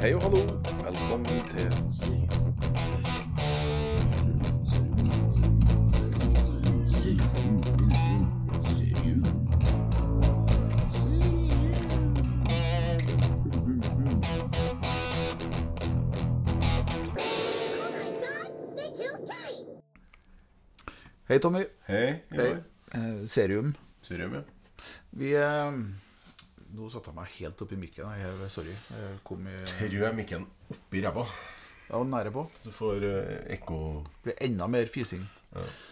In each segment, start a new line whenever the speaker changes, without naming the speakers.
Hei og hallo. Velkommen til Si- Si- Si-
Oh my god, they killed Kenny!
Hei, Tommy.
Hei.
Hei.
Ivar.
Eh, serium.
Serium, ja.
Vi eh, Nå satte jeg meg helt oppi mikken. her. Jeg, sorry. Jeg kom i Jeg
Rød er mikken oppi ræva,
var nære på.
så du får eh, ekko.
Det blir enda mer fising.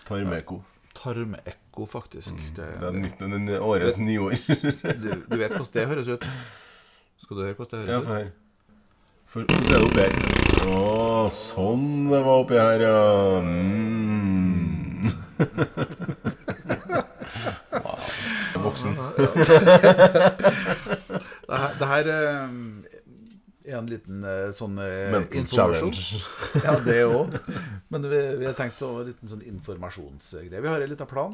Tarmekko.
Tarmekko, faktisk. Det,
Det er nytt Mm, den er årets nyår.
du, du vet hvordan det høres ut? Skal du høre hvordan det
Ja,
høres
for
ut?
her. For se det oppi her. Å, sånn det var oppi her, ja. Mm. wow. Voksen.
Det her, det her eh, er en liten eh, sånn eh,
Mental
informasjon.
challenge.
Ja, det òg. Men vi, vi har tenkt å ha en liten sånn informasjonsgreie. Vi har en liten plan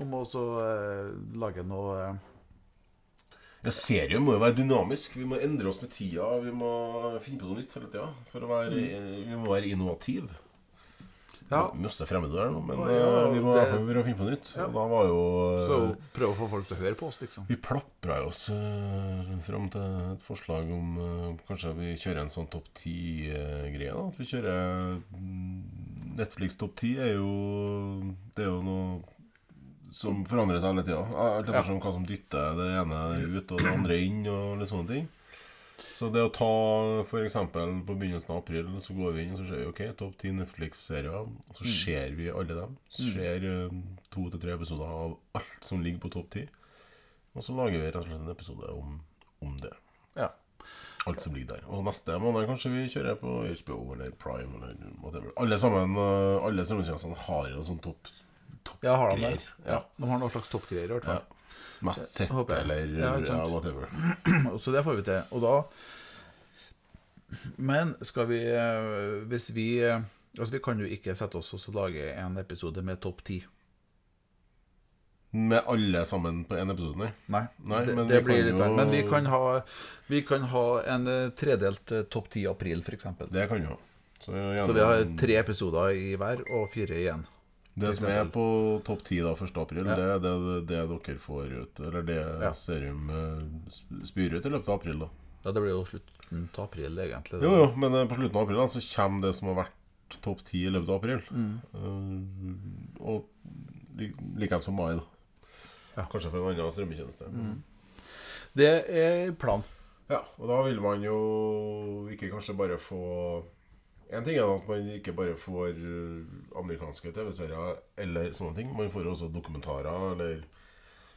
om å så, eh, lage noe eh,
Ja, Serier må jo være dynamisk. Vi må endre oss med tida. Vi må finne på noe nytt hele tida. For å være,
Mm.
eh, vi må være innovativ.
Ja,
Masse fremmedord her nå, men
Å, ja,
eh, vi må i
det-
hvert fall prøve å finne på noe nytt. Og da var jo eh,
så prøve å få folk til å høre på oss, liksom.
Vi plapra jo oss uh, fram til et forslag om eh, kanskje vi kjører en sånn topp ti-greie. da At vi kjører mm, Netflix topp ti er jo Det er jo noe som forandrer seg hele tida. Alt etter hva som dytter det ene ut og det andre inn og litt sånne ting. Så det å ta f.eks. på begynnelsen av april, så går vi inn og så ser vi ok, topp ti Netflix-serier. Og så ser vi alle dem. Så ser eh, to til tre episoder av alt som ligger på topp ti. Og så lager vi rett og slett en episode om, om det.
Ja.
Alt som ligger der. Og neste måned kanskje vi kjører på HBO eller Prime eller whatever. Alle sammen, eh, alle strømmetjenestene har jo sånn topp topp
Ja, har de det?
greier.
Ja. De har noen slags toppgreier, i hvert
Ja.
fall.
Mest sett
håper jeg.
eller ja,
Ja, ikke sant.
whatever.
Så det får vi til. Og da Men skal vi eh, Hvis vi eh, Altså, vi kan jo ikke sette oss og så lage en episode med topp ti.
Med alle sammen på én episode, nei.
Nei,
Nei,
det,
men
det
vi
blir
kan
litt
jo-
verre. Men vi kan ha, vi kan ha en eh, tredelt eh, topp ti i april, f.eks.
Det kan du ha. Så, gjerne-
Så vi har tre episoder i hver, og fire igjen.
Det som er
eksempel.
på topp ti da 1. april, det er det, det dere får ut. Eller det
Ja.
serum eh, sp- spyr ut i løpet av april, da.
Ja, det blir jo slutten av april, egentlig.
Jo, jo, men eh, på slutten av april da, så kommer det som har vært topp ti i løpet av april. Eh, og li- likeens for mai, da.
Ja.
Kanskje for en annen strømmetjeneste.
Det er planen.
Ja, og da vil man jo ikke kanskje bare få En ting er at man ikke bare får eh, amerikanske TV-serier eller sånne ting. Man får også dokumentarer eller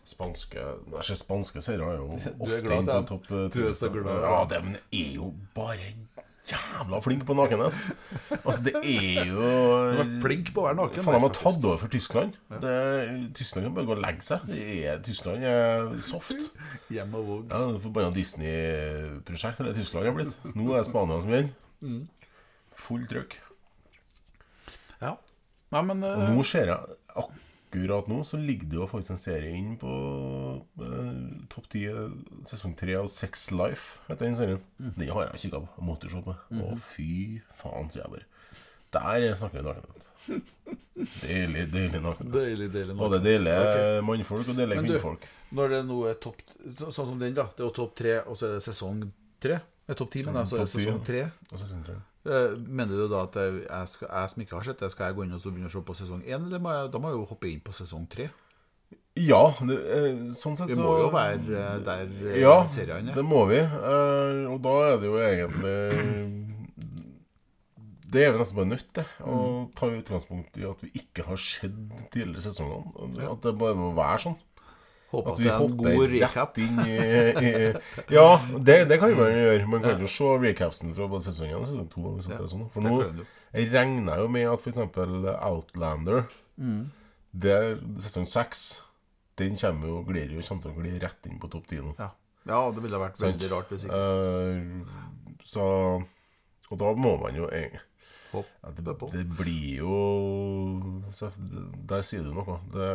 spanske Jeg ser spanske serier er jo
Du er
ofte
glad,
inn på
ja.
topp eh,
Du er så
10.
glad,
Ja,
ja.
det, men jeg er jo bare jævla flink på nakenhet. Altså, det er jo
Du er flink på å være naken.
Faen, de har tatt over for Tyskland. Det, Tyskland kan bare gå og legge seg. Det er, Tyskland er soft.
Hjem og våg.
Ja, det er Forbanna Disney-prosjekt eller Tyskland har blitt. Nå er det Spania som gjelder. Mm. Full trøkk.
Ja. Nei, men eh,
Og nå ser jeg Akkurat nå så ligger det jo faktisk en serie inn på eh, topp 10 sesong 3 av Sex Life. Heter den serien. Den har jeg kikka på. Jeg måtte se på. Å, fy faen, sier jeg bare. Der snakker vi nakenhet. Deilig, deilig nakenhet.
Deilig, deilig. nå.
Både deilige mannfolk og deilige
Men du-
kvinnfolk.
Når det nå er topp så, Sånn som den, da. Det er jo topp tre, og så er det sesong tre. Det er topp ti, men da, så er det
Topp ti,
sesong
ja.
tre.
Og sesong 3.
Eh, Mener du da at jeg, jeg skal, jeg som ikke har sett det, skal jeg gå inn og så begynne å se på sesong én, eller må jeg, da må jeg jo hoppe inn på sesong tre?
Ja, det, eh, sånn sett
Vi
så
må jo være eh, der eh,
Ja,
seriene er.
det må vi. Eh, og da er det jo egentlig Det er vi nesten bare nødt til å
Mm.
ta utgangspunkt i at vi ikke har sett tidligere sesongene. At det bare må være sånn.
Håper
At
at
vi
det er en god
hopper
recap.
rett inn i, i Ja, det, det kan man jo gjøre. Man kan jo se recapsen fra både sesong 1 og sesong 2. Hvis det er sånn. For
det
nå
kan du.
regner jeg jo med at f.eks. Outlander,
Mm.
det er sesong 6, den kommer jo, glir jo, kommer til å gli rett inn på topp 10 nå.
Ja. ja, det ville ha vært veldig rart hvis ikke.
Eh, så Og da må man jo egentlig ja, det,
Hoppe på.
det blir jo så, Der sier du noe. Det,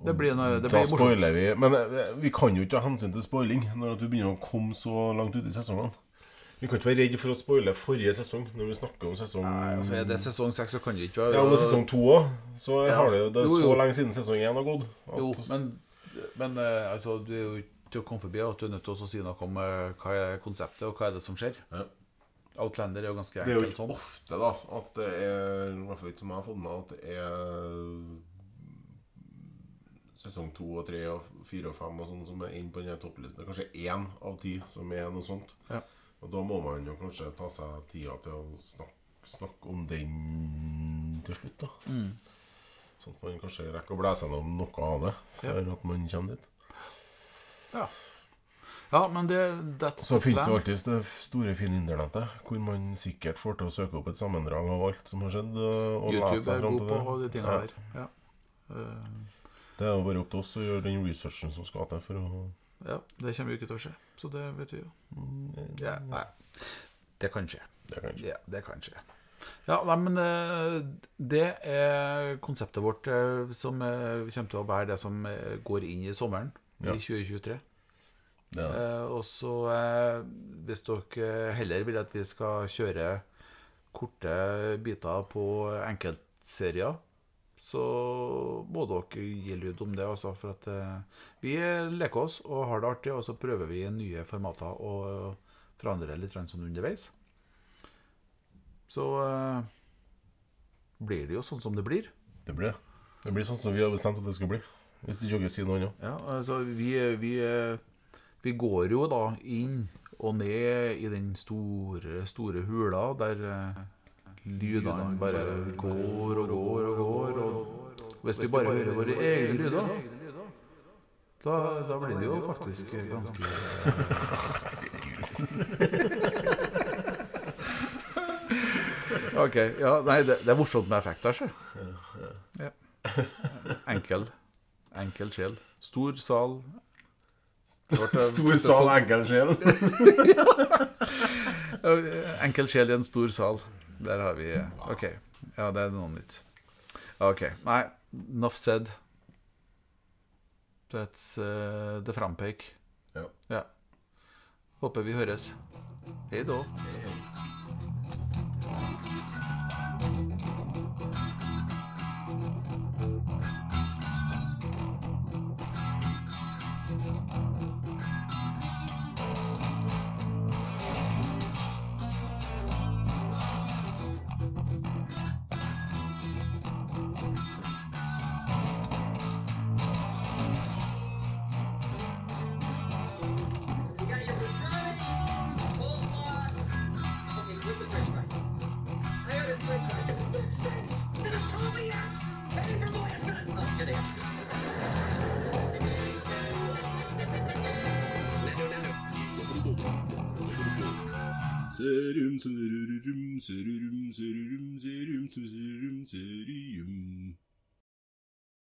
Det blir, noe, det
da
blir morsomt.
spoiler vi. Men eh, vi kan jo ikke ta hensyn til spoiling når at du begynner å komme så langt ut i sesongene. Vi kan ikke være redd for å spoile forrige sesong når vi snakker om sesong
Nei, altså Er det sesong seks, så kan det ikke være
Ja, om det er sesong to òg, så
Ja.
har det jo det er
Jo, jo.
så lenge siden sesong én har gått. at-
Jo, men, men eh, altså, du er jo ikke til å komme forbi at du er nødt til å si noe om eh, hva er konseptet, og hva er det som skjer.
Ja.
Outlander er jo ganske
Det er jo
enkelt
ikke
sånn.
ofte da at det er I hvert fall ikke som jeg har fått med at det er sesong to og tre og fire og fem og sånn som er inne på denne topplisten. Det er kanskje én av ti som er noe sånt.
Ja.
Og da må man jo kanskje ta seg tida til å snakke, snakke om den til slutt, da.
Mm.
Sånn at man kanskje rekker å blæse gjennom noe av det før at man kommer dit.
Ja. ja, men det that's
Så
the
finnes
plan.
jo alltid det store, fine internettet, hvor man sikkert får til å søke opp et sammendrag av alt som har skjedd. Og og lese
YouTube
seg
er
fram
god
til det.
på de tinga
Ja.
der. Ja. Eh,
Det er jo bare opp til oss å gjøre den researchen som skal til for å
ja, det kommer jo ikke til å skje, så det vet vi jo. Ja, nei. Det kan skje.
Det kan ikke
Ja, det kan skje. Ja, nei, men eh, det er konseptet vårt eh, som eh, kommer til å være det som eh, går inn i sommeren
Ja.
i 2023.
det er det.
Eh, og så eh, hvis dere heller vil at vi skal kjøre korte biter på enkeltserier, så må dere gi lyd om det, altså. For at eh, vi leker oss og har det artig, og så prøver vi nye formater og forandrer litt sånn underveis. Så eh, blir det jo sånn som det blir.
Det blir det. Det blir sånn som vi har bestemt at det skal bli. Hvis du ikke sier noe annet.
Ja, altså vi, vi, eh, vi går jo da inn og ned i den store, store hula der eh, lydene bare går og går og går. Og hvis vi bare hører våre egne lyder, da, da blir det jo faktisk ganske OK. Ja, nei, det, det er morsomt med effekter, sjø. Ja. Enkel. Enkel sjel. Stor sal.
Stor sal, enkel sjel.
Enkel sjel i en stor sal. Der har vi OK. Ja, det er noe nytt. OK. Nei, enough said. That's uh, the frampek.
Ja.
Ja. Håper vi høres. Hei da.
You got your pastrami, coleslaw. Okay, with the french fries. I ordered french fries. This stinks! This is totally ass! Hey, your boy is gonna... Oh, here they are. No, no, no, no.
Serum, serum, serum, serum, serum, serum, serum, serum.